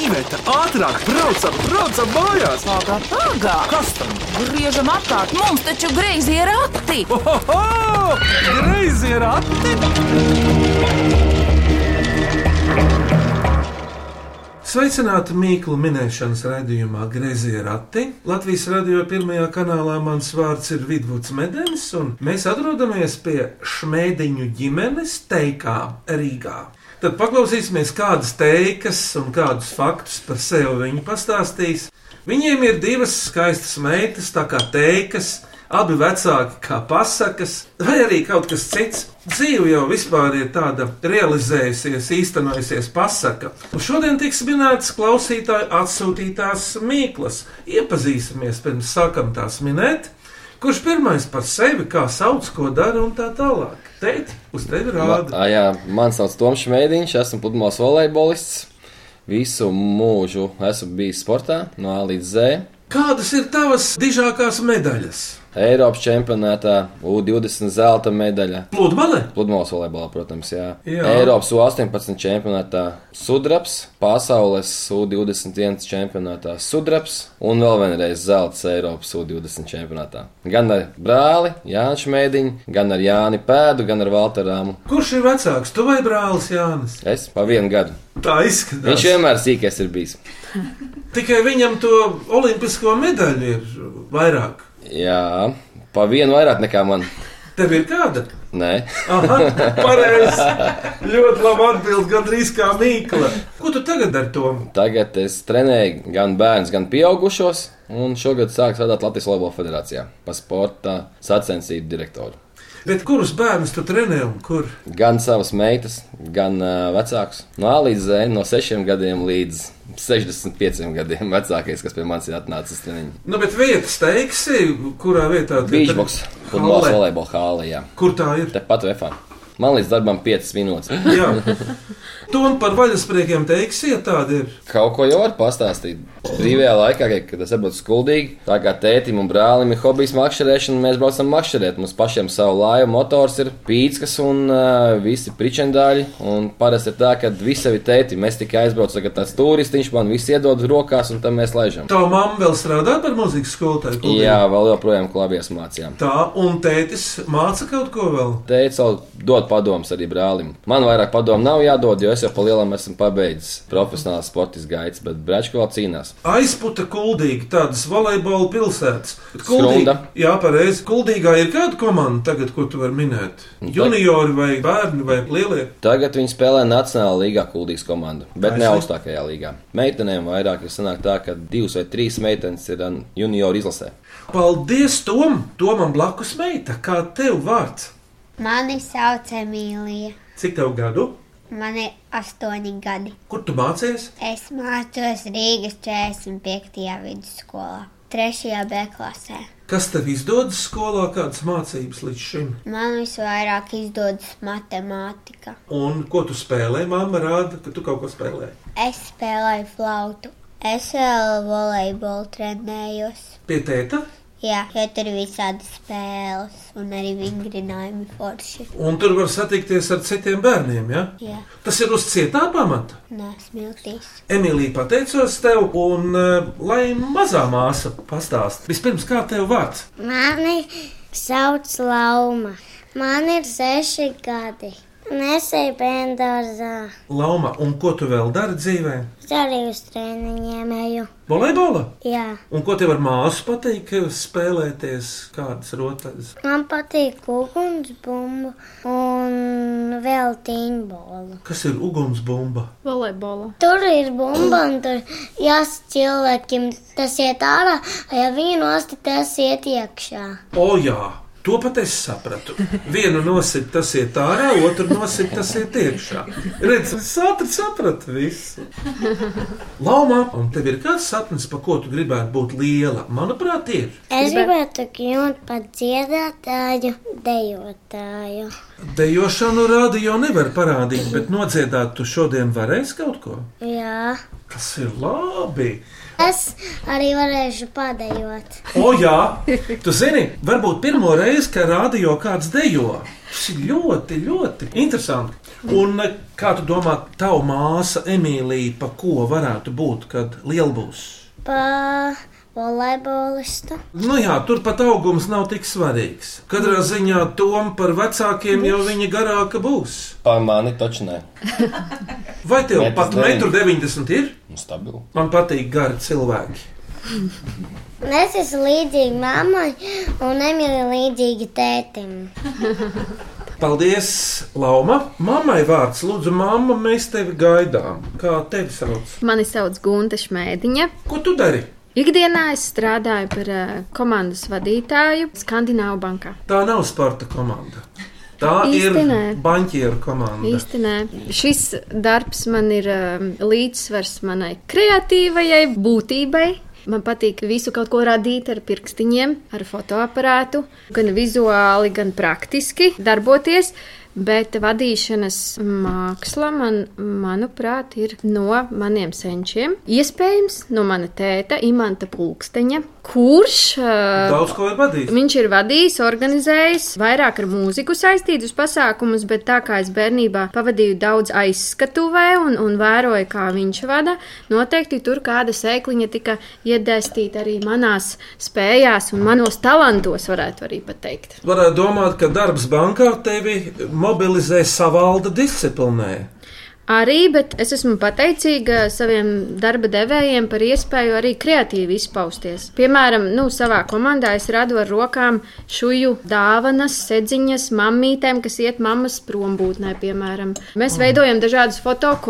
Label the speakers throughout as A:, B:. A: Iveta, ātrāk, braucam, braucam mājās!
B: Ātrāk, ātrāk!
A: Kas tam?
B: Griežam ātrāk! Mums taču greizi ir rati!
A: Ohoho! Greizi ir ati!
C: Sveicināti Mīklu minēšanas raidījumā Griezie rati. Latvijas radio pirmajā kanālā mans vārds ir Vidvuds Medenis, un mēs atrodamies pie Šmēdeņu ģimenes teikā Rīgā. Tad paklausīsimies, kādas teikas un kādus faktus par sevi viņi pastāstīs. Viņiem ir divas skaistas meitas, tā kā teikas, abi vecāki kā pasakas, vai arī kaut kas cits. Dzīve jau vispār ir tāda realizējusies, īstenojusies pasaka. Un šodien tiks minētas klausītāju atsūtītās mīklas. Iepazīsimies pirms sākam tās minēt. Kurš pirmais par sevi, kā sauc, ko dara un tā tālāk? Teikt, uz tevi rāda.
D: Ah, jā, man sauc Toms Šmētiņš, esmu pludmales volejbolists. Visu mūžu esmu bijis sportā, no A līdz Z.
C: Kādas ir tavas dižākās medaļas?
D: Eiropas čempionātā U20 zelta medaļa.
C: Pludmale!
D: Pludmales volejbolā, protams, jā.
C: Jā.
D: Eiropas U18 čempionātā sudraps, pasaules U21 čempionātā sudraps un vēl vienreiz zelts Eiropas U20 čempionātā. Gan ar brāli Jānis Šmētiņu, gan ar Jāni Pēdu, gan ar Valterāmu.
C: Kurš ir vecāks, tu vai brālis Jānis?
D: Es pa vienu gadu.
C: Tā
D: Viņš
C: izskatās.
D: vienmēr sīkais ir bijis.
C: Tikai viņam to olimpisko medaļu ir vairāk.
D: Jā, pa vienu vairāk nekā man.
C: Tev ir kāda?
D: Nē,
C: Aha, pareizi. Ļoti labi atbild, gandrīz kā mīkla. Ko tu tagad dari to?
D: tagad es trenēju gan bērnus, gan pieaugušos. Un šogad sāku strādāt Latvijas Lobola Federācijā par sporta sacensību direktoru.
C: Bet kurus bērnus tu trenē un kur?
D: Gan savas meitas, gan uh, vecākus. No A līdz Z, no 6 gadiem līdz 65 gadiem vecākais, kas pie manis ir atnācis treniņš.
C: Nu, bet vietas teiksi, kurā vietā tu
D: Beachbox, futbols,
C: Hallē.
D: volejbola hālijā.
C: Kur tā ir?
D: Tepat vefā. Man līdz darbam 5 minūtes.
C: Jā. Tu un par vaļaspriekiem teiksi, ja tāda ir.
D: Kaut ko jau var pastāstīt. Brīvajā laikā, kad es esmu skuldīgi, tā kā tētim un brālim ir hobijs makšķerēšana, mēs braucam makšķerēt. Mums pašiem savu laivu motors ir pīckas un uh, visi pričendāļi. Un parasti ir tā, ka visi sevi tēti, mēs tikai aizbraucam, tagad tāds turistiņš man viss iedod rokās un tam mēs laižam.
C: Tava mamma vēl strādā par mūzikas skolotāju. klubā?
D: Jā, vēl joprojām klābies mācījām.
C: Tā, un tētis māca kaut ko vēl.
D: Teicu, dod padomus arī brālim. Man vairāk padomu nav jādod, jo es jau pa lielam esmu pabeidzis profesionāls sports gaitas, bet brāļš vēl cīnās.
C: Aizputa kuldīgi, tādas volejbola pilsētas. Bet
D: Skrunda.
C: Kuldīga- Jā, pareizi. Kuldīgā ir kāda komanda tagad, ko tu vari minēt? Juniori vai bērni vai lielie?
D: Tagad viņi spēlē Nacionālajā līgā, Kultūras komandu, bet
C: Taisnība.
D: ne augstākajā līgā. Meitenēm vairāk ir sanāk tā, ka divas vai trīs meitenes ir an, junioru izlasē.
C: Paldies Tom! Tomam blakus meita, kā tev vārds?
E: Mani sauc Emīlija.
C: Cik tev gadu?
E: Man ir astoņi gadi.
C: Kur tu mācies?
E: Es mācos Rīgas 45. vidusskolā, 3. B klasē.
C: Kas tev izdodas skolā, kādas mācības līdz šim?
E: Man visvairāk izdodas matemātika.
C: Un ko tu spēlē? Māma rāda, ka tu kaut ko spēlē.
E: Es spēlēju flautu. Es vēl volejbolu trenējos.
C: Pie tēta?
E: Jā, šeit ir visādi spēles un arī vingrinājumi forši.
C: Un tur var satikties ar citiem bērniem, ja?
E: Jā,
C: Tas ir uz cietā pamata.
E: nē, smiltīs.
C: Emīlija, pateicos tev, un eh, lai mazā māsa pastāsta. Vispirms, kā tev vārds?
F: Mani sauc Lauma. Man ir seši gadi. Nesēju bērnu dārzā.
C: Lauma, un ko tu vēl dari dzīvē?
F: Es arī uz treniņiem eju.
C: Volejbola?
F: Jā.
C: Un ko tev ar māsu patīk eh, spēlēties kādas rotaļas?
F: Man patīk ugunsbumbu un vēl tīņbolu.
C: Kas ir ugunsbumba?
B: Volejbola.
F: Tur ir bumba un tur jāsaka cilvēkiem, tas iet ārā, ja viņi nosti tas iet iekšā.
C: O jā, to pat es sapratu. Vienu nosit tas iet ārā, otru nosit tas iet iekšā. Redz, es ātri sapratu visu. Lauma, un tev ir kāds sapnis, pa ko tu gribētu būt liela? Manuprāt, ir.
F: Es gribētu kļūt par dziedātāju, dejotāju.
C: Dejošanu rādi jau nevar parādīt, bet nodziedāt tu šodien varēsi kaut ko?
F: Jā.
C: Tas ir labi!
F: Es arī varēšu padējot.
C: O, jā, tu zini, varbūt pirmo reizi, kad rādio kāds dejo. Tas ir ļoti, ļoti interesanti. Un eh, kā tu domā, tava māsa Emīlija, pa ko varētu būt, kad liela būs?
F: Pa volejbolistu.
C: Nu jā, turpat augums nav tik svarīgs. Katrā ziņā tom par vecākiem jau viņa garāka būs.
D: Pār mani taču nē.
C: Vai tev
D: Metrs
C: pat
D: deviņi.
C: 1,90 m ir?
D: Nu, Stabili.
C: Man patīk gari cilvēki.
F: Un Es esmu līdzīga mammai un Emīlija līdzīga tētim.
C: Paldies, Lauma! Mammai vārds, lūdzu, mamma, mēs tevi gaidām. Kā tevi sauc?
G: Mani sauc Gunte Šmētiņa.
C: Ko tu dari?
G: Ikdienā es strādāju par uh, komandas vadītāju Skandināvu bankā.
C: Tā nav sporta komanda. Tā
G: Īsti
C: ir
G: nē.
C: banķieru komanda. Īsti.
G: Īstenībā šis darbs man ir um, līdzsvars manai kreatīvajai būtībai. Man patīk visu kaut ko radīt ar pirkstiņiem, ar fotoaparātu, gan vizuāli, gan praktiski darboties. Bet vadīšanas māksla, man, manuprāt, ir no maniem senčiem. Iespējams, no mana tēta, Imanta Pulksteņa, kurš uh,
C: Daudz ko ir vadījis.
G: Viņš ir vadījis, organizējis, vairāk ar mūziku saistītus pasākumus, bet tā kā es bērnībā pavadīju daudz aizskatuvē un, un vēroju, kā viņš vada, noteikti tur kāda sēkliņa tika iedēstīta arī manās spējās un manos talantos, varētu arī pateikt.
C: Varētu domāt, ka darbs bankā tevi mobilizē savalda disciplinē.
G: Arī, bet es esmu pateicīga saviem darba devējiem par iespēju arī kreatīvi izpausties. Piemēram, nu, savā komandā es radu ar rokām šuju dāvanas, sedziņas, mammītēm, kas iet mammas prombūtnē, piemēram. Mēs veidojam dažādus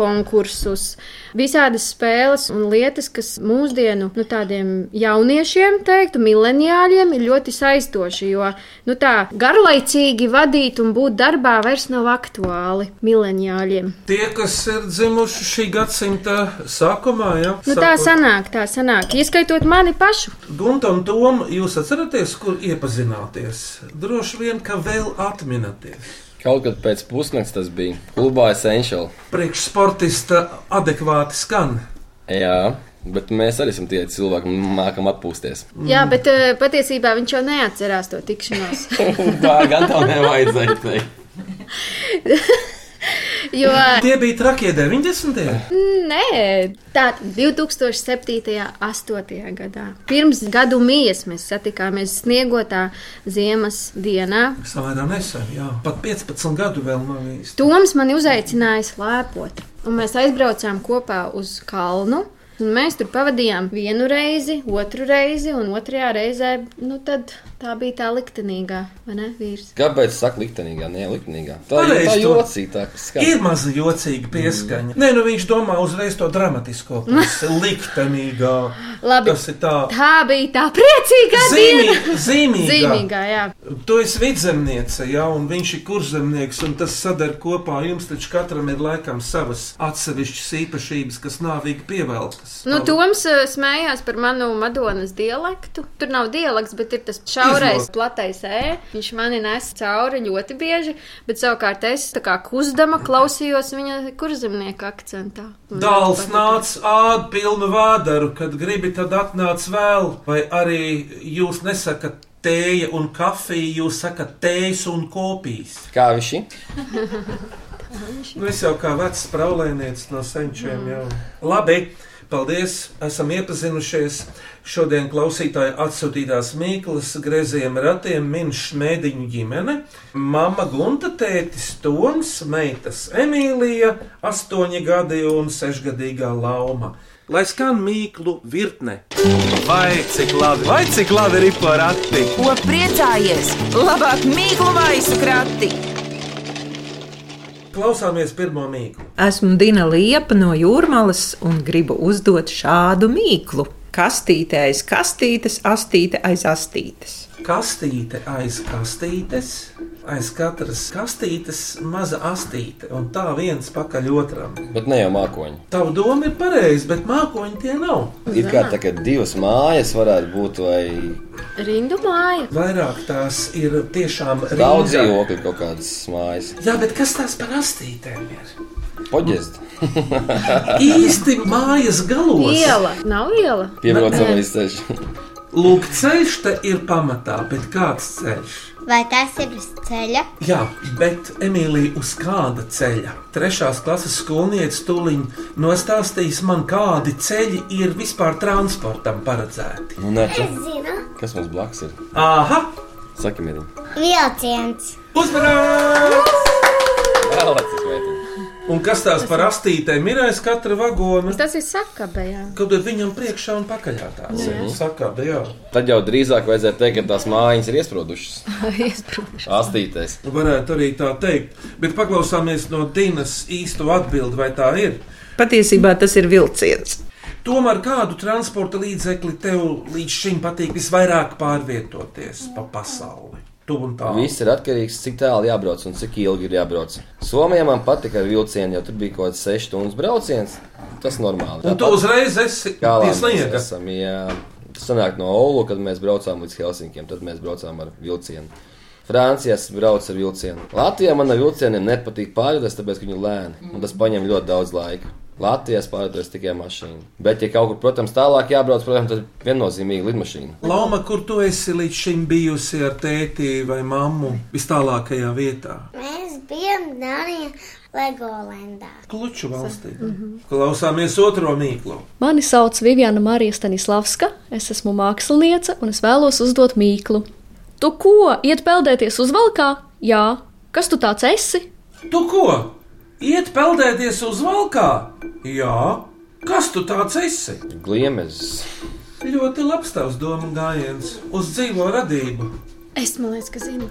G: fotokonkursus, visādas spēles un lietas, kas mūsdienu nu, tādiem jauniešiem, teiktu, mileniāļiem ir ļoti saistoši, jo nu, tā garlaicīgi vadīt un būt darbā vairs nav aktuāli mileniāļiem.
C: Tie, kas ir dzimuši šī gadsimta sākumā, jau
G: Nu, tā sanāk, tā sanāk, ieskaitot mani pašu.
C: Gunam, Tom, jūs atceraties, kur iepazināties? Droši vien, ka vēl atminaties.
D: Kaut kad pēc pusnakts tas bija. Klubā Essential.
C: Priekšsportista adekvāti skan.
D: Jā, bet mēs arī esam tie cilvēki, kas mākam atpūsties.
G: Mm. Jā, bet eh, patiesībā viņš jau neatcerās to tikšanos.
D: Oh. Tā gan tā nevajadzēja teikt.
G: Jo mm,
C: Tie bija trakie 90.
G: nē, tā 2007. un 2008. gadā. Pirms gadu mijas mēs satikāmies sniegotā ziemas dienā.
C: Samērā nesen, jā. Pat 15 gadu vēl nav īsti.
G: Toms man uzaicināja slēpot, un mēs aizbraucām kopā uz kalnu. un Mēs tur pavadījām vienu reizi, otru reizi, un otrajā reizē nu, tad tā bija tā liktenīgā, vai ne? Vīrs.
D: Kāpēc saka liktenīgā? Nē, liktenīgā. Tā ir
C: Pareizi
D: tā
C: to.
D: jocīga.
C: Ir maza jocīga pieskaņa. Mm. Nē, nu viņš domā uzreiz to dramatisko, kas ir liktenīgā.
G: Labi,
C: Tas ir tā
G: tā bija tā priecīgā
C: zīmī,
G: diena!
C: zīmīga.
G: Zīmīgā, jā.
C: Tu esi vidzemniece, jā, un viņš ir kurzemnieks, un tas sadara kopā. Jums taču katram ir laikam savas atsevišķas īpašības, kas nāvīgi pieveltas.
G: Nu, Toms eh, smējās par manu Madonas dialektu. Tur nav dialekts, bet ir tas šaurais,
C: Izmot.
G: platais ē. Viņš mani nes cauri ļoti bieži, bet savukārt es tā kā kustama klausījos viņa kurzemnieka akcentā. Man
C: Dāls
G: ļoti patika.
C: nāca āda pilnu vādaru, kad gribi tad atnāc vēl, vai arī jūs nesakat tēja un kafija, jūs sakat tējas un kopijas.
D: Kā viņš ir?
C: Nu, es jau kā vecs spraulēnieks no senčiem jau. Labi, paldies, esam iepazinušies. Šodien klausītāji atsūtītās Mīklas greziem ratiem min šmēdiņu ģimene. Mama Gunta, tētis Toms, meitas Emīlija, astoņi gadi un sešgadīgā lauma. Lai skan mīklu virkne.
A: Vai cik labi, vai cik labi ir porati?
B: Ko priecājies? Labāk mīklu maisu krati!
C: Klausāmies pirmo mīklu.
H: Esmu Dina Liepa no Jūrmālas un gribu uzdot šādu mīklu. Kastīte aiz kastītes, astīte aiz astītes.
C: Kastīte aiz kastītes, aiz katras kastītes maza astīte, un tā viens pakaļ otram.
D: Bet ne jau mākoņi.
C: Tava doma ir pareiza, bet mākoņi tie nav.
D: Ir kā tā, ka divas mājas varētu būt vai
G: Rindu māja.
C: Vairāk tās ir tiešām
D: daudz
C: rindā.
D: dzīvokļu kaut kādas mājas.
C: Jā, bet kas tās par astītēm ir?
D: Poģest.
C: Īsti mājas galos.
G: Iela. Nav iela.
D: Piebraucamais ceļš.
C: Lūk, ceļš te ir pamatā, bet kāds ceļš?
E: Vai tas ir uz ceļa?
C: Jā, bet Emīlija, uz kāda ceļa? Trešās klases skolniece tūlīt nostāstīs man, kādi ceļi ir vispār transportam paredzēti.
D: Nu, nē, tu.
F: Zinu.
D: Kas mums blakus ir?
C: Aha!
D: Saki, Mirī.
F: Vilciens.
C: Uzmanības!
D: Vēlacis meitene.
C: Un kas tās par astītēm ir aiz katra vagona?
G: Tas ir sakabējā.
C: Kaut kā viņam priekšā un pakaļā tāds ir. Sakāda, jā.
D: Tad jau drīzāk vajadzētu teikt, ka tās mājas ir iesprūdušas.
G: Iesprūduši.
D: Astīties.
C: Varētu arī tā teikt, bet paklausāmies no Dienas īsto atbildi, vai tā ir.
H: Patiesībā tas ir vilciens.
C: Tomēr kādu transporta līdzekli tev līdz šim patīk visvairāk pārvietoties pa pasauli? Tu un tā.
D: Viss ir atkarīgs no tā, cik tālu jābrauc un cik ilgi ir jābrauc. Somijā man patika ar vilcienu, jo tur bija kaut kāds 6 stundas brauciens. Tas ir normāli.
C: Un tu uzreiz esi
D: Tāpat kā
C: pieslēgta.
D: mēs esam. Jā. Tas sanāk no Oulu, kad mēs braucām līdz Helsinkiem, tad mēs braucām ar vilcienu. Francijā es braucu ar vilcienu. Latvijā man ar vilcieniem nepatīk pārvietoties, tāpēc, ka viņi ir lēni un tas paņem ļoti daudz laika. Latvijas pārvietojas tikai mašīna. Bet, ja kaut kur, protams, tālāk jābrauc, protams, tad viennozīmīgi lidmašīna.
C: Lauma, kur tu esi līdz šim bijusi ar tēti vai mammu vistālākajā vietā?
F: Mēs bijām Dānijā Legolendā.
C: Kluču valstī. Klausāmies otro mīklu.
I: Mani sauc Viviana Marija Stanislavska, es esmu māksliniece un es vēlos uzdot mīklu. Tu ko, iet peldēties uz valkā? Jā, kas tu tāds esi?
C: Tu ko? Iet peldēties uz valkā? Jā. Kas tu tāds esi?
D: Gliemezs.
C: Ļoti labs tavs domu gājiens uz dzīvo radību.
G: Es domāju, ka zinu.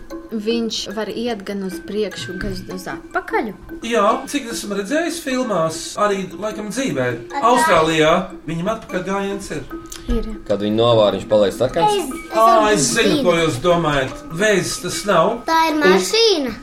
G: Viņš var iet gan uz priekšu, gan uz atpakaļ.
C: Jā, cik esmu redzējis filmās, arī laikam dzīvē, Austrālijā viņam atpakaļ gājiens ir.
G: Ir.
D: Kad viņi novāra, viņš paliek sakans.
C: Ā, Ah, es zinu, ko jūs domājat. Vējs tas nav.
F: Tā ir mašīna.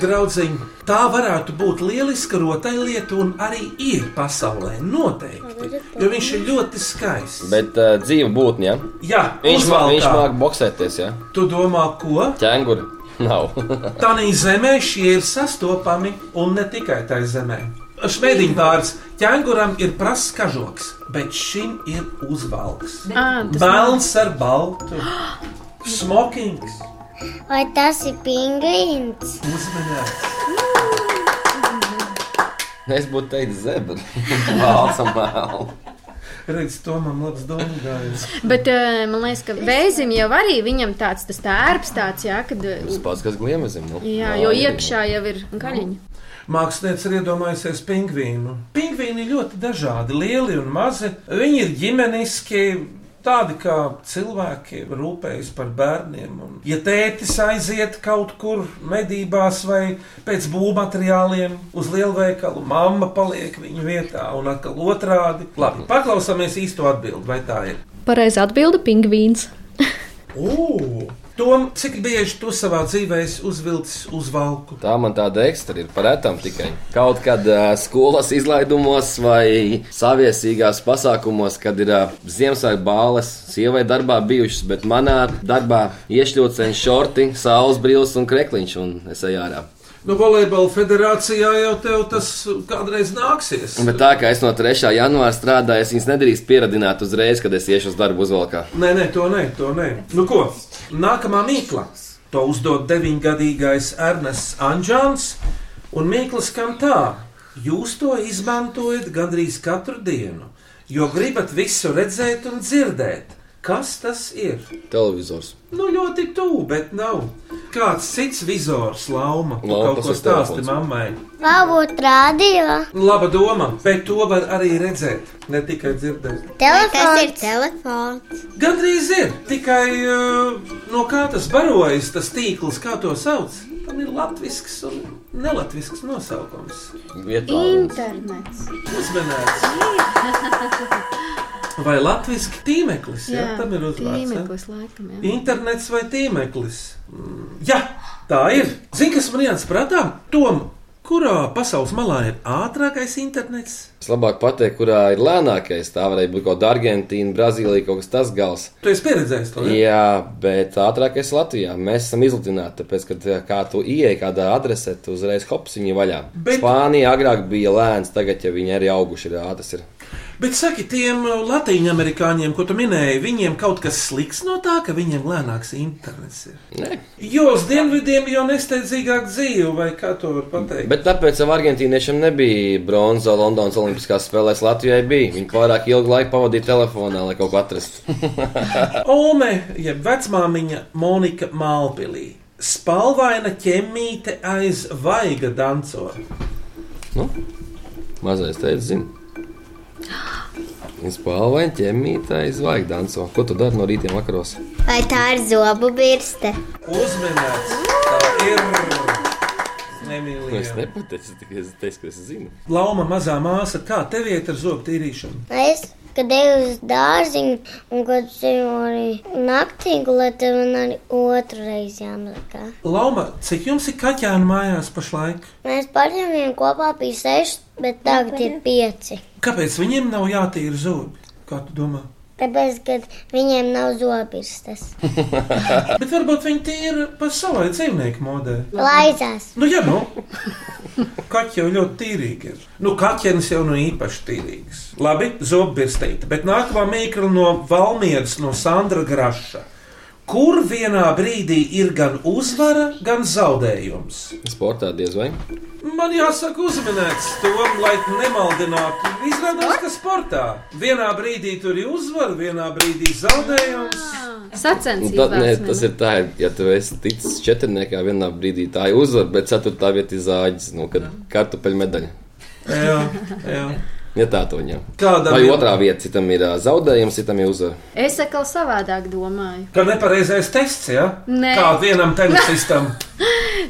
C: Draudziņ, tā varētu būt lieliska rotaļlieta un arī ir pasaulē noteikti. Jo viņš ir ļoti skaists.
D: Bet uh, dzīve būtne, ja?
C: Jā,
D: Viņš, mā, viņš
C: uzvalkā.
D: māca boxēties, ja?
C: Tu domā, ko?
D: Ķēnguri. Nav.
C: Tanī zemē šie ir sastopami un ne tikai tai zemē. Šmēdiņvārds ķēnguram ir prasks kažoks, bet šim ir uzvalks.
G: Ah,
C: Melns ar baltu. Smokings.
F: Vai tas ir pingvīns?
C: Uzmanīgs.
D: es būtu teicis zebra. Valca mēlu.
C: Redz, to man labs domājums.
G: Bet eh, man liekas, ka vēzim jau arī viņam tāds - tērps tāds, jā, kad. eh,
D: Tas pats, kas gliemezim. Nu.
G: Jā,
D: Nav
G: jo
D: arī.
G: iekšā jau ir gaļiņa.
C: Mākslinieks ir iedomājusies pingvīnu. Pingvīni ir ļoti dažādi, lieli un mazi. Viņi ir ģimeniski. Tādi kā cilvēki rūpējas par bērniem. Un, ja tētis aiziet kaut kur medībās vai pēc būvmateriāliem uz lielveikalu, mamma paliek viņa vietā un atkal otrādi. Labi, paklausāmies īsto atbildi, vai tā ir.
I: Pareizi atbildi - pingvīns.
C: Ū! Tom, cik bieži tu savā dzīvē esi uzvilcis uz valku?
D: Tā man tāda ekstra ir parētam tikai. Kaut kad uh, skolas izlaidumos vai saviesīgās pasākumos, kad ir uh, Ziemassvētku bāles, sievai darbā bijušas, bet manā darbā iešļūceni šorti, saules brīvs un krekliņš un es eju ārā.
C: Nu, volejbola federācijā jau tev tas kādreiz nāksies.
D: Bet tā kā es no 3. janvāra strādāju, es viņas nedrīkst pieradināt uzreiz, kad es iešu uz darbu uzvalkā.
C: Nē, nē, to nē, to nē. Nu, ko? Nākamā mīkla. To uzdod deviņgadīgais Ernests Anģēns. Un mīkla skan tā: Jūs to izmantojat gandrīz katru dienu, jo gribat visu redzēt un dzirdēt. Kas tas ir?
D: Televizors.
C: Nu, ļoti tuvu, bet nav. Kāds cits vizors, lauma, tu
D: Lauma,
C: kaut
D: tas
C: ko
D: ir
C: stāsti
D: telefons.
C: mammai.
F: Varbūt rādio.
C: Laba doma, bet to var arī redzēt, ne tikai dzirdēt.
E: Tas ir
F: Telefons.
E: telefons.
C: Gan drīz ir, tikai uh, no kā tas barojas, tas tīkls, kā to sauc. Tam ir latvisks un nelatvisks nosaukums.
D: Vietā.
G: Internets.
C: Uzmanīts! Vai latviešu tīmeklis? Jā, jā tam ir uzvārds. ne?
G: tīmeklis laikam. Jā.
C: Internets vai tīmeklis? Mm, Jā, tā ir. Zini, kas man ienāca prātā? Tom, kurā pasaules malā ir ātrākais internets?
D: Es labāk pateiktu, kurā ir lēnākais. Tā varētu būt kaut kāda Argentīna, Brazīlija, kaut kas tas gals.
C: Tu esi pieredzējis to jau.
D: Jā, bet ātrākais Latvijā. Mēs esam izlutināti, tāpēc, kad eh, kā tu ieej kādā adresē, tu uzreiz hops viņa vaļā.
C: Bet-
D: Bet... Spānija agrāk bija lēns, tagad ja viņi arī auguši ir ātras. Ir.
C: Bet saki, tiem latviešu amerikāņiem, ko tu minēji, viņiem kaut kas slikts no tā, ka viņiem lēnāks internets ir.
D: Nē.
C: Jo uz dienvidiem jau nesteidzīgāk dzīve, vai kā to var pateikt?
D: Bet tāpēc tam argentīniešiem nebija bronza Londonas Olimpiskās spēlēs. Latvijai bija. Viņi pārāk ilgu laiku pavadīja telefonā, lai kaut ko atrastu.
C: Ome, jeb vecmāmiņa Monika Malpilī. Spalvaina ķemmīte aiz vaiga danco.
D: nu, mazais teica, zini. Spālvaini ķemmītā izvaigta danso. Ko tu dari no rītiem vakaros?
E: Vai tā ir zobu birste?
C: Uzmanīts! Tā ir
D: Es
C: nemīlīga.
D: nepateicu, tikai es teicu, ka es zinu.
C: Lauma mazā māsa, kā tev iet ar zobu tīrīšanu?
F: Es, kad eju uz dārziņu, un kad eju arī naktī gulēt, tad man arī otru reizi jāmazgā.
C: Lauma, cik jums ir kaķēni mājās pašlaik?
F: Mēs paņēmām kopā bija seši, bet tagad ir pieci.
C: Kāpēc viņiem nav jātīra zobi? Kā tu domā?
F: Tāpēc, kad viņiem nav zobirstes.
C: Bet varbūt viņi tīra pa savai dzīvnieku modē.
F: Laizās.
C: Nu, jā, nu. Kaķis jau ļoti tīrīgi ir. Nu, kaķis jau nu īpaši tīrīgs. Labi, zobbirsteita. Bet nākamā mīkla no Valmieras, no Sandra Graša. Kur vienā brīdī ir gan uzvara, gan zaudējums?
D: Sportā diez vai.
C: Man jāsaka, uzmanīgs tam, lai nemaldinātu. Izrādās, ka sportā vienā brīdī tur ir uzvara, vienā brīdī zaudējums.
D: Nu, tad, nē,
G: Sacensībās.
D: tas ir tā, ja tu esi ticis četrniekā vienā brīdī, tā ir uzvara, bet ceturtā vieta ir zāģis, nu, kad kartupeļu medaļa.
C: Jā, jā.
D: Ja tā to viņam.
C: Kādam
D: Vai
C: ir-
D: otrā vieta, citam ir ā, zaudējums, citam ir uzvara.
G: Es atkal savādāk domāju.
C: Kā nepareizais tests, ja?
G: Nē.
C: Kā vienam tenisistam.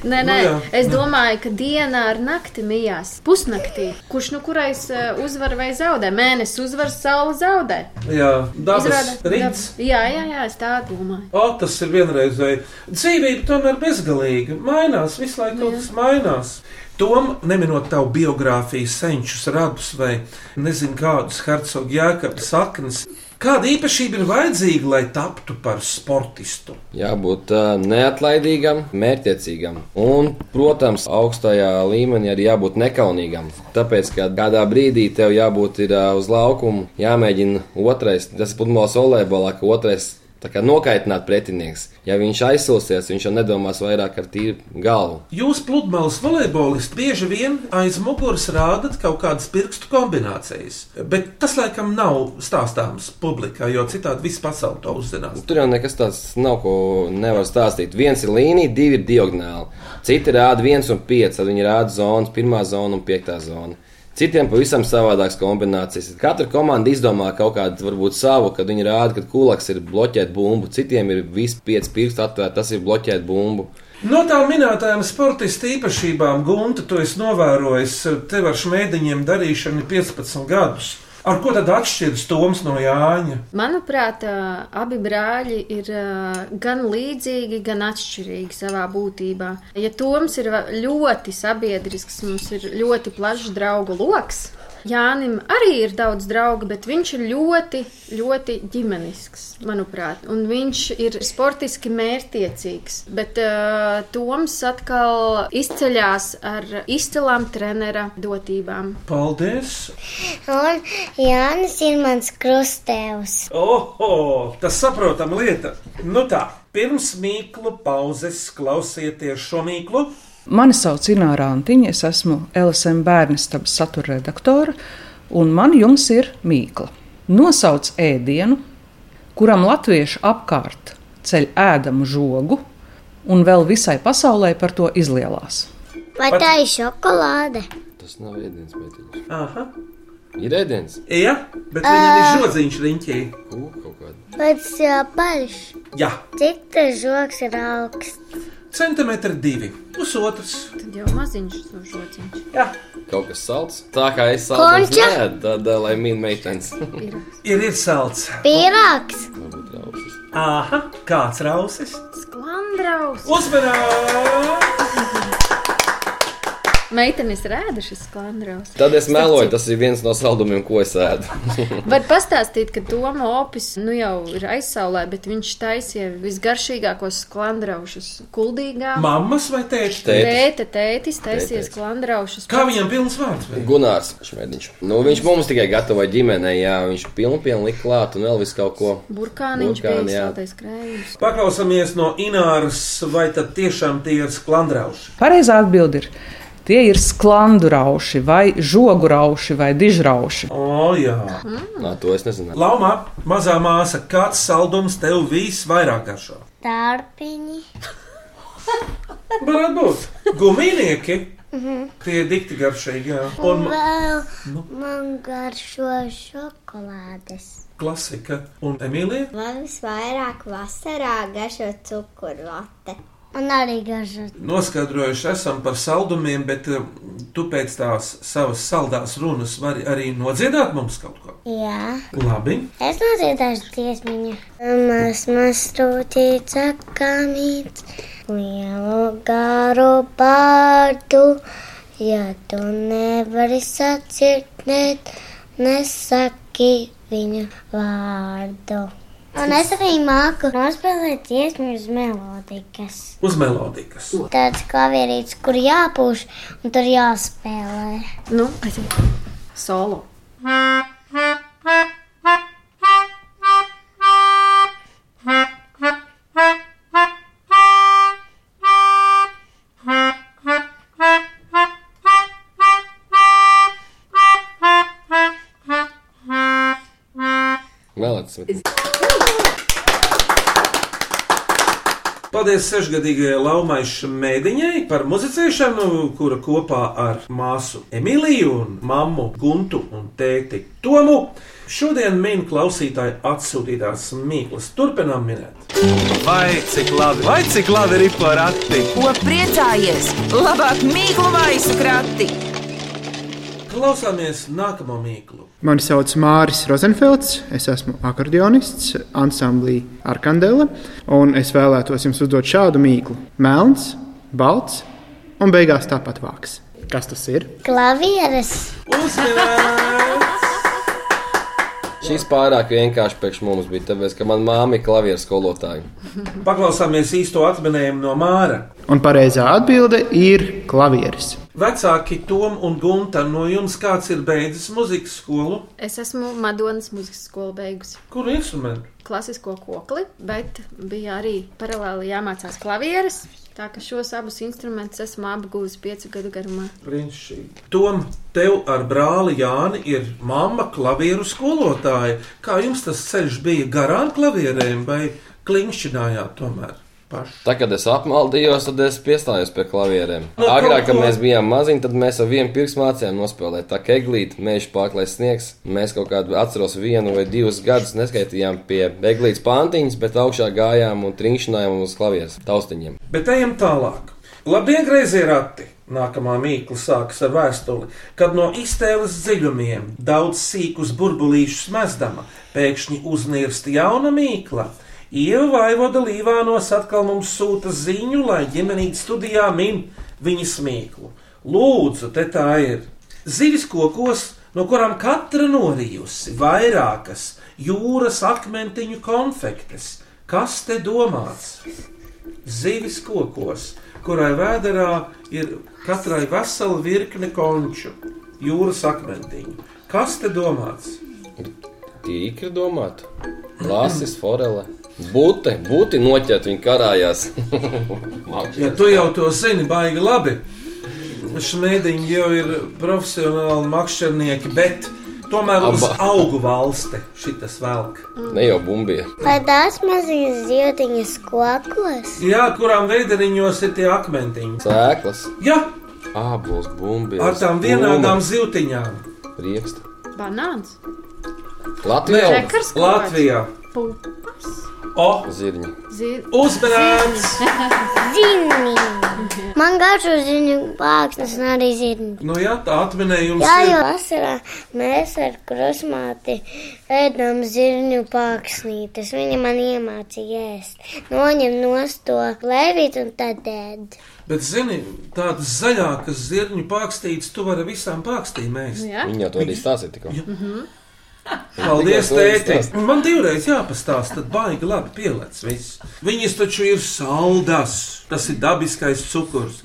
G: Nē, nē,
C: jā.
G: es domāju, ka dienā ar naktī mijās pusnaktī. Kurš nu kurais eh, uzvar vai zaudē? Mēnesis uzvar, saule zaudē.
C: Jā, dabas
G: Izrāda-
C: rīts.
G: dab- Jā, jā, jā, es tā domāju.
C: O, tas ir vienreizēji. Dzīvība tomēr bezgalīga, mainās, visu laiku kaut kas mainās. Tom, neminot tavu biogrāfiju, senčus radus vai nezinu kādus hercogu jēkabas saknes, kāda īpašība ir vajadzīga, lai taptu par sportistu?
D: Jābūt ā, neatlaidīgam, mērķiecīgam un, protams, augstajā līmenī arī jābūt nekaunīgam. Tāpēc, ka kādā brīdī tev jābūt ir, ā, uz laukuma, jāmēģina otrais, tas ir pludmales olēbolā, ka otrais tā kā nokaitināt pretinieks. Ja viņš aizsilsies, viņš jau nedomās vairāk ar tīru galvu.
C: Jūs, pludmales volejbolisti, bieži vien aiz muguras rādat kaut kādas pirkstu kombinācijas, bet tas laikam nav stāstāms publikai, jo citādi viss pasaule to uzzinās.
D: Tur jau nekas tāds nav, ko nevar stāstīt. Viens ir līnija, divi ir diagonāli. Citi rāda viens un pieci, tad viņi rāda zonas, pirmā zona un piektā zona. Citiem pavisam savādākas kombinācijas. Katra komanda izdomā kaut kādu, varbūt savu, kad viņi rāda, ka kulaks ir bloķēt bumbu, citiem ir visi pieci pirksti atvērti, tas ir bloķēt bumbu.
C: No tām minētajām sportista īpašībām, Gunta, to es novēroju, eh, tev ar šmēdiņiem darīšana ir 15 gadus. Ar ko tad atšķiras Toms no Jāņa?
G: Manuprāt, ā, abi brāļi ir ā, gan līdzīgi, gan atšķirīgi savā būtībā. Ja Toms ir va- ļoti sabiedrisks, mums ir ļoti plašs draugu lokus. Jānim arī ir daudz draugu, bet viņš ir ļoti, ļoti ģimenisks, manuprāt. Un viņš ir sportiski mērķiecīgs. Bet uh, Toms atkal izceļas ar izcilām trenera dotībām.
C: Paldies!
F: Un Jānis ir mans krustēvs.
C: Oho, tas saprotama lieta. Nu tā, pirms mīklu pauzes klausieties šo mīklu.
J: Mani sauc Ināra Antiņa, es esmu LSM bērnistabas satura redaktore, un man jums ir mīkla. Nosauc ēdienu, kuram latvieši apkārt ceļ ēdamu žogu, un vēl visai pasaulē par to izlielās.
F: Vai tā ir šokolāde?
D: Tas nav ēdiens, bet
C: Aha,
D: ir ēdiens.
C: jā, bet viņam ir žodziņš riņķī.
D: Ko kaut kāda?
F: Vai tas ir apaļš?
C: Jā,
F: Cik tas žoks ir augsts?
C: centimetri divi, pusotrs.
G: Tad jau maziņš to žociņš.
C: Jā,
D: kaut kas salds. Tā kā es salds
F: Konča?
D: neēdu, tad uh, lai mīl meitenes.
C: Ir ir salds.
F: Pīrāgs,
C: Aha, kāds rausis?
G: Sklandraus!
C: Uzmanīgi!
G: Meitenes rēda šis sklandraus.
D: Tad es meloju, tas ir viens no saldumiem, ko es ēdu.
G: Var pastāstīt, ka Toma opis nu jau ir aizsaulē, bet viņš taisīja visgaršīgākos sklandraušus kuldīgā.
C: Mammas vai tēta?
G: Tēta, tētis taisīja
D: Tētis.
G: sklandraušus.
C: Kā viņam pilns vārds? vai?
D: Gunārs Šmētiņš. Nu, viņš mums tikai gatavoja ģimenē, jā, viņš pilnpienu lika klāt un vēl visu kaut ko.
G: Burkāniņš bija
D: Burkāni, jā.
G: saltais krējums.
C: Paklausāmies no Ināras, vai tad tiešām tie ir sklandrauši?
J: Pareizā atbild ir. Tie ir sklandurauši, vai žogurauši, vai dižrauši.
C: O, jā.
D: Nā, to es nezinu.
C: Laumā, mazā māsa, kāds saldums tev visvairāk garšo?
F: tārpiņi,
C: Varētu būt. Mhm. Gumijnieki. Tie ir dikti garšīgi, jā.
F: un
C: Un
F: vēl man garšo šokolādes.
C: klasika. Un Emīlija?
E: Man visvairāk vasarā garšo cukurvate.
F: Un arī garšo
C: Noskaidrojuši esam par saldumiem, bet um, tu pēc tās savas saldās runas vari arī nodziedāt mums kaut ko.
F: Jā,
C: Labi.
F: es nodziedāšu dziesmiņu. Mans mastrūtīts akamīts, lielu garu pārdu. Ja tu nevari sacirdēt, nesaki viņu vārdu. Un es arī māku nospēlēt dziesmu uz melodikas.
C: Uz melodikas.
F: Tāds klavierīts, kur jāpūš un tur jāspēlē.
G: Nu, aiziet. Solo.
D: Melēts.
C: Paldies sešgadīgajai Laumai Šmētiņai par muzicēšanu, kura kopā ar māsu Emīliju, un mammu Guntu un tēti Tomu šodien min klausītāju atsūtītās mīklas. Turpinām minēt.
A: Vai cik labi, vai cik labi ir porakti?
B: Ko priecājies? Labāk mīklu maisu krati!
C: Klausāmies nākamo mīklu.
K: Mani sauc Māris Rozenfelds, es esmu akordeonists ansamblī Arkandela, un es vēlētos jums uzdot šādu mīklu. Melns, balts un beigās tāpat vāks. Kas tas ir?
F: Klavieres
C: Uzmanības!
D: Šis pārāk vienkārši priekš mums bija, tāpēc, ka man māma ir klavieru skolotāja.
C: Paklausāmies īsto atminējumu no Māra.
K: Un pareizā atbilde ir klavieris.
C: Vecāki Tom un Gunta, no jums kāds ir beidzis muzikas skolu?
G: Es esmu Madonas muzikas skolu beigusi.
C: Kuru instrumentu?
G: klasisko kokli, bet bija arī paralēli jāmācās klavieres. Tā kā šos abus instrumentus esmu apgūlis piecu gadu garumā.
C: Brīnišķīgi. Tom, tev ar brāli Jāni ir mamma klavieru skolotāja. Kā jums tas ceļš bija garām klavierēm vai kliņšķinājāt tomēr paši?
D: Tā, kad es apmaldījos, tad es piestājos pie klavierēm.
C: Nu,
D: Agrāk, kad
C: kaut ko.
D: mēs bijām maziņi, tad mēs ar vienu pirkstu mācījām nospēlēt tā keglīt, mēģi pārklājas sniegs. Mēs kaut kādu atceros vienu vai divus gadus neskaitījām pie eglītes pantiņas, bet augšā gājām un trīšinājām uz klavieres taustiņiem.
C: Bet ejam tālāk. Labdien, grazīgi rati! Nākamā mīkla sākas ar vēstuli, kad no iztēles dziļumiem daudz sīkus burbulīšus mezdama pēkšņi uznirst jauna mīkla. Ieva Vaivoda Līvānos atkal mums sūta ziņu, lai ģimenīte studijā min viņas mīklu. Lūdzu, te tā ir. Zivis kokos, no kurām katra norijusi vairākas jūras akmentiņu konfektes. Kas te domāts? zivis kokos, kurai vēdā ir katrai vesela virkne konču, jūras akmentiņu. Kas te domāts?
D: Tīkri domāt, lasis, forele. Būti, būti noķert, viņi karājās.
C: Ja tu jau to zini, baigi labi. Šmēdiņi jau ir profesionāli makšķernieki, bet tomēr uz
D: Abā.
C: augu valsti šitas velk.
D: ne jau bumbija.
F: vai tās maziņas zīltiņas kokos?
C: Jā, kurām veideriņos ir tie akmentiņi.
D: Sēklas,
C: Jā,
D: ābols, bumbija.
C: ar tām vienādām ziltiņām.
D: Rieksta.
G: Banāns,
D: Latvijā.
G: čekars,
C: Latvijā.
G: pupas,
C: O!
D: Zirņi.
C: Uzmanīgs!
F: Zini! Man garšo ziņu plāksnes un arī zini.
C: Nu, jā, tā atminējums
F: Jā,
C: ir.
F: jo vasarā mēs ar krusmāti ēdam zirņu pāksnītes. Viņa man iemācīja ēst. Noņem nost to levītu un tad ēd.
C: Bet, zini, tādas zaļākas zirņu pākstītes tu vari visām pākstīm ēst.
F: Jā.
D: Viņi jau to arī stāstīja tikko.
C: Paldies,
D: Tikko to
C: tēti!
D: izstāst.
C: Man divreiz jāpastāsta, tad baigi labi pielēc viss. Viņas taču ir saldas, tas ir dabiskais cukurs.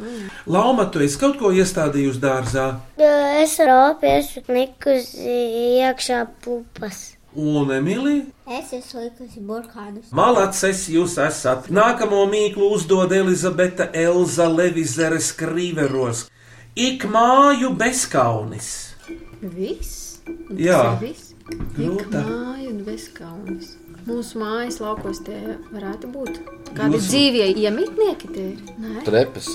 C: Lauma, tu esi kaut ko iestādījusi dārzā,
F: Jo Es ropiešu likusi iekšā pupas.
C: un Emīlija
E: Es esmu likusi burkānus.
C: Malacis, jūs esat. Nākamo mīklu uzdod Elizabete Elza Levizeres Krīveros. Ik māju bezkaunis.
G: Viss. Un
C: Jā. Nu,
G: tas ir viss. Ik
C: Grūta.
G: māja un bezkaunis. Mūsu mājas laukos tie varētu būt. Kādi
C: Jūsu-
G: dzīvie iemitnieki tie ir? Nē.
D: Trepas.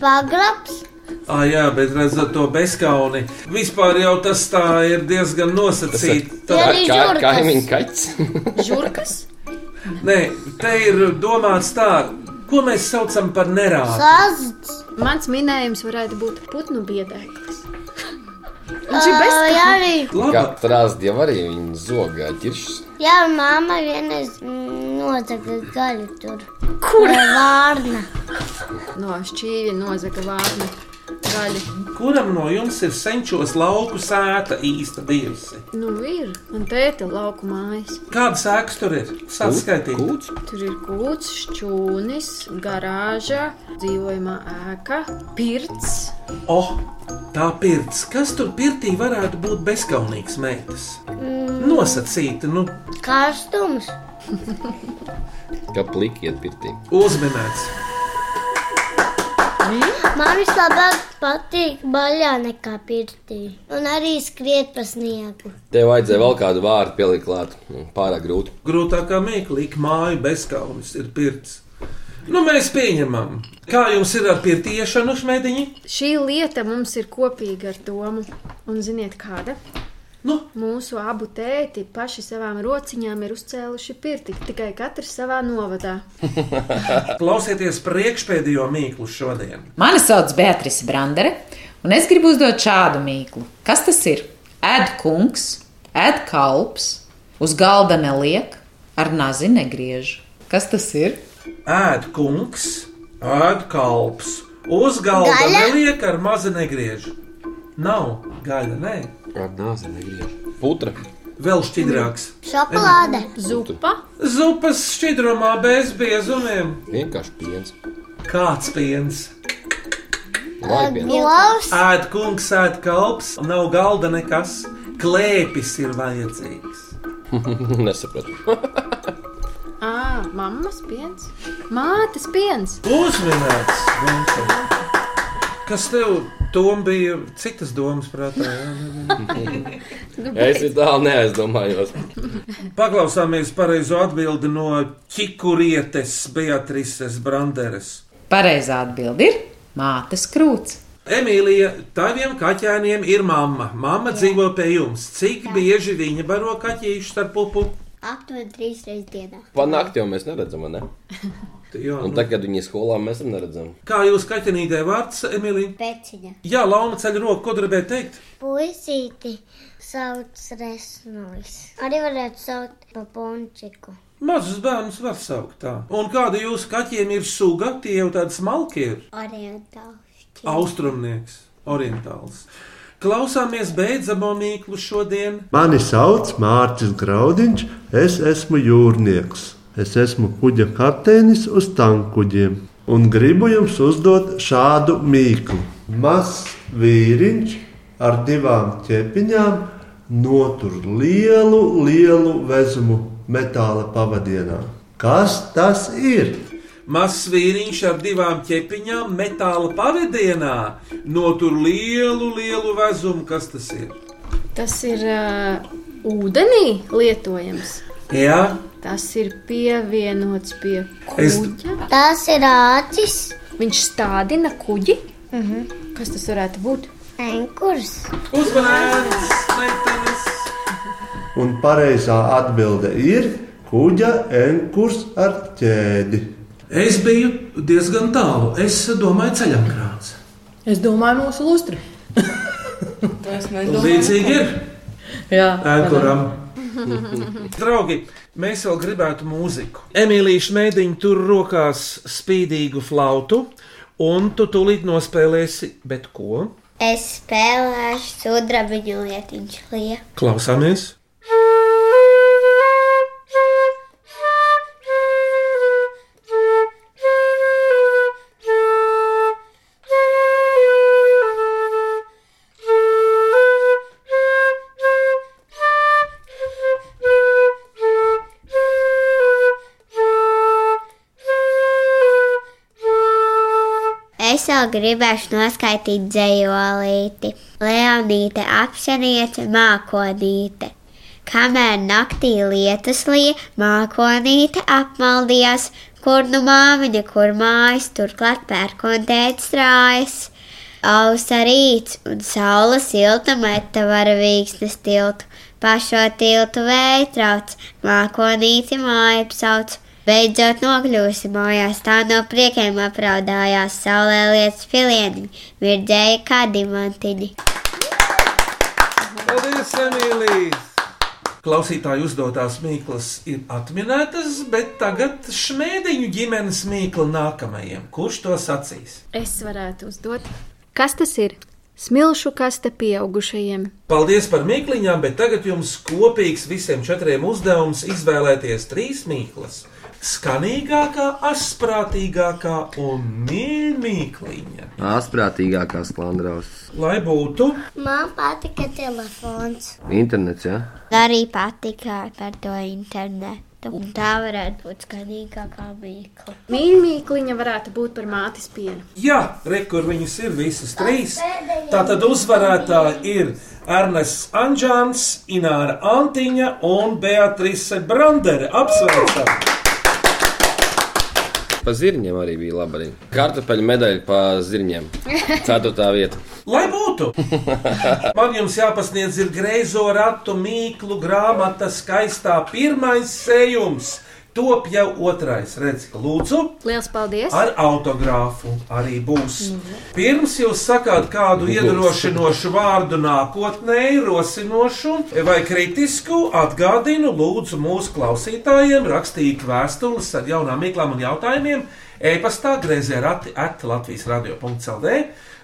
F: Pagrabs.
C: Ah, jā, bet redzat to bezkauni. Vispār jau tas tā ir diezgan nosacīti. Tā-
D: Tā kā kaimiņa kaķis.
G: Žurkas?
C: Nē, te ir domāts tā, ko mēs saucam par nerādu.
F: Sazds.
G: Mans minējums varētu būt putnu biedēklis.
F: Viņš ir bezkaunis. Jā, arī.
D: Katrā ziņā arī viņa zogā ķiršas.
F: Jā, māma vienreiz mm, nozaga gaļu tur. Kur? Vārna.
G: No šķīvja nozaga vārna gaļa.
C: Kuram no jums ir senčos lauku sēta īsta bijusi?
G: Nu, ir. Un tēta lauku mājas.
C: Kāda sēks tur ir? Saskaitīt.
G: Tur ir kūts, šķūnis, garāža, dzīvojamā ēka, pirts.
C: O, Oh, tā pirts. Kas tur pirtī varētu būt bezkaunīgs meitas? Nosacīti, nu,
F: Karstums.
D: Kā pliki iet pirtī.
C: uzminēts.
F: Man vislabāk patīk baļā nekā pirtī. Un arī skriet pa sniegu.
D: Tev vajadzēja vēl kādu vārdu pielikt klāt. Nu, Pārāk grūti.
C: Grūtākā mīkla, ik māja bezkaunis ir pirts. Nu, mēs pieņemam. Kā jums ir ar pirtiešanu, šmētiņi?
G: Šī lieta mums ir kopīga ar domu. Un ziniet, kāda?
C: Nu?
G: Mūsu abu tēti paši savām rociņām ir uzcēluši pirti, tikai katrs savā novadā.
C: Klausieties priekšpēdējo mīklu šodien.
L: Mani sauc Beatrice Brandere, un es gribu uzdot šādu mīklu. Kas tas ir? Ēd kungs, ēd kalps, uz galda neliek, ar nazi negriež. Kas tas ir?
C: Ēd kungs, ēd kalps, uz galda
L: Gaļa?
C: neliek ar mazu negriežu. Nav gaļa, nē.
D: Ar nāzi negriež. Putra.
C: Vēl šķidrāks.
F: Šokolāde.
G: Zupa.
C: Zupas šķidrumā bez biezumiem.
D: Vienkārši piens.
C: Kāds piens?
D: Vai
F: Glavs.
C: Ēd kungs, ēd kalps, nav galda nekas. Klēpis ir vajadzīgs.
D: Nesapratu.
G: Ā, mammas piens, mātes piens.
C: Uzminēts! Gonča. Kas tev tom bija citas domas prātā? jā?
D: Es tālu neaizdomājos.
C: Paklausāmies pareizo atbildi no Čikurietes Beatrises Branderes.
L: Pareizā atbilde ir mātes krūts.
C: Emīlija, taviem kaķēniem ir mamma. Mamma dzīvo pie jums. Cik bieži viņa baro kaķīšu ar pupu?
E: Aptuveni trīs reizes dienā.
D: Panākt jau mēs neredzam, vai ne?
C: Jā, nu,
D: Un tagad, kad viņi ir skolā, mēs arī neredzam.
C: Kā jūs kaķenītē vārds, Emīlija?
F: Peciņa.
C: Jā, Launa ceļ roku, ko gribēja teikt?
F: Puisīti sauc resnojas. Arī varētu saukt pa pončiku.
C: Mazus bērnus var saukt tā. Un kāda jūsu kaķiem ir suga? Tie jau tādi smalki ir.
E: Orientāli.
C: Austrumnieks, orientāls. Klausāmies beidzamo mīklu šodien.
M: Mani sauc Mārcis Graudiņš, es esmu jūrnieks. Es esmu kuģa kapteinis uz tankuģiem. Un gribu jums uzdot šādu mīklu. Mazs vīriņš ar divām ķepiņām notur lielu, lielu vezumu metāla pavadienā. Kas tas ir?
C: Mazs vīriņš ar divām ķepiņām metāla pavadienā notur lielu, lielu vezumu. Kas tas ir?
G: Tas ir uh, ūdenī lietojams.
C: Jā,
G: Tas ir pievienots pie
C: Es-
G: kuģa.
F: Tas ir ācis.
G: Viņš stādina kuģi. Uh -huh. Kas tas varētu būt?
F: Enkurs.
C: uzmanības!
M: Un pareizā atbilde ir
K: Kuģa enkurs ar ķēdi.
C: Es biju diezgan tālu. Es domāju, ceļojumkrāts.
L: Es domāju, mūsu lustri.
N: Es
C: Līdzīgi ir
L: Jā,
C: ēkuram. Draugi, mēs vēl gribētu mūziku. Emīlija Šmētiņa tur rokās spīdīgu flautu, un tu tūlīt nospēlēsi, bet ko?
F: Es spēlēšu sudrabiņu lietiņu lieku.
C: Klausāmies!
F: Es vēl gribēšu noskaidrot dzējolīti, Leonīte apšaniet mākonīte. Kamēr naktī lietas lija, mākonīte apmaldījās, kur nu māmiņa, kur mājas, turklāt pērkontēt strājas. Ausa rīts un saula silta meta var vīksnes tiltu, pašo tiltu vējtrauc, mākonīti māja apsauc. Beidzot nokļūsi mājās, tā no priekiem apraudājās, saulē lietas pilieni, virdzēja kā dimantiņi.
C: Paldies, Emīlija! Klausītāju uzdotās mīklas ir atminētas, bet tagad šmētiņu ģimenes mīkla nākamajam. Kurš to sacīs?
G: Es varētu uzdot. Kas tas ir? Smilšu kaste pieaugušajiem.
C: Paldies par mīkliņām, bet tagad jums kopīgs visiem četriem uzdevums izvēlēties trīs mīklas. Skanīgākā, asprātīgākā un mīkliņa.
D: Asprātīgākās klandraus.
C: Lai būtu
F: Man patika telefons.
D: Internets, jā.
F: Arī patika par to internetu. Un tā varētu būt skanīgākā mīkla.
G: Mīlīkliņa varētu būt par mātes pienu.
C: Jā, re, kur viņas ir visas trīs. Tā tad uzvarētāji ir Ernests Anģēns, Ināra Antiņa un Beatrice Brandere. Apsveicam!
D: Pa zirņiem arī bija laba arī. Kartupeļu medaļa pa zirņiem. Ceturtā vieta.
C: Lai būtu! Man jums jāpasniedz ir greizo ratu mīklu grāmata, skaistā pirmais sējums. Top jau otrais, redz, lūdzu,
G: Lielas paldies!
C: ar autogrāfu arī būs. Pirms jūs sakāt kādu iedrošinošu vārdu nākotnē, rosinošu vai kritisku, atgādinu lūdzu mūsu klausītājiem rakstīt vēstules ar jaunām mīklām un jautājumiem e-pastā grezē rati at Latvijas radio.cl.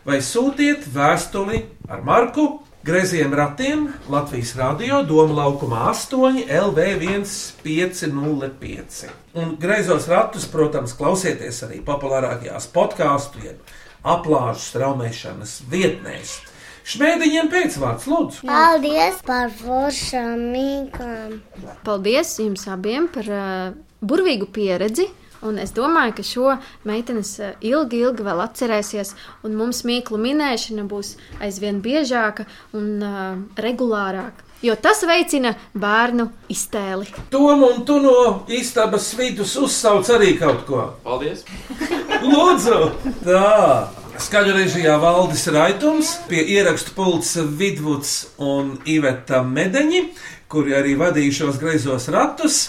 C: vai sūtiet vēstuli ar marku Greziem ratiem Latvijas Rādio Doma laukumā 8 LV1505. Un greizos ratus, protams, klausieties arī populārākajās podkāstu, jeb aplāžu straumēšanas vietnēs. Šmēdiņiem pēcvārds, lūdzu!
O: Paldies par foršām mīkām.
G: Paldies jums abiem par uh, burvīgu pieredzi. Un es domāju, ka šo meitenes ā, ilgi, ilgi vēl atcerēsies, un mums mīklu minēšana būs aizvien biežāka un uh, regulārāka. Jo tas veicina bērnu iztēli.
C: Tom un tu no istabas vidus uzsauc arī kaut ko.
D: Paldies!
C: Lūdzu! Tā! Skaļu režijā valdis Raitums, pie ierakstu pults Vidvuds un Iveta Medeņi, kuri arī vadīšos greizos ratus.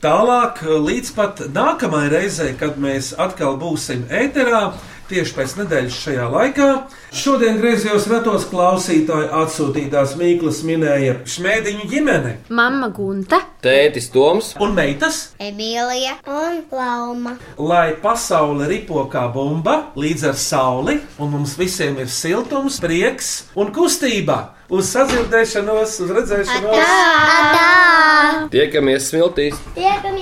C: Tālāk līdz pat nākamajai reizei, kad mēs atkal būsim ēterā, tieši pēc nedēļas šajā laikā. Šodien griezījos ratos klausītāji atsūtītās mīklas minēja Šmētiņu ģimene
G: Mama Gunta.
D: Tētis Toms
C: un meitas.
F: Emīlija un Lauma.
C: lai pasaule ripo kā bumba līdz ar sauli, un mums visiem ir siltums, prieks un kustība. Uz sadzirdēšanos, uz redzēšanos!
F: Tā!
D: Tiekamies smiltīs!
F: Tiekamies!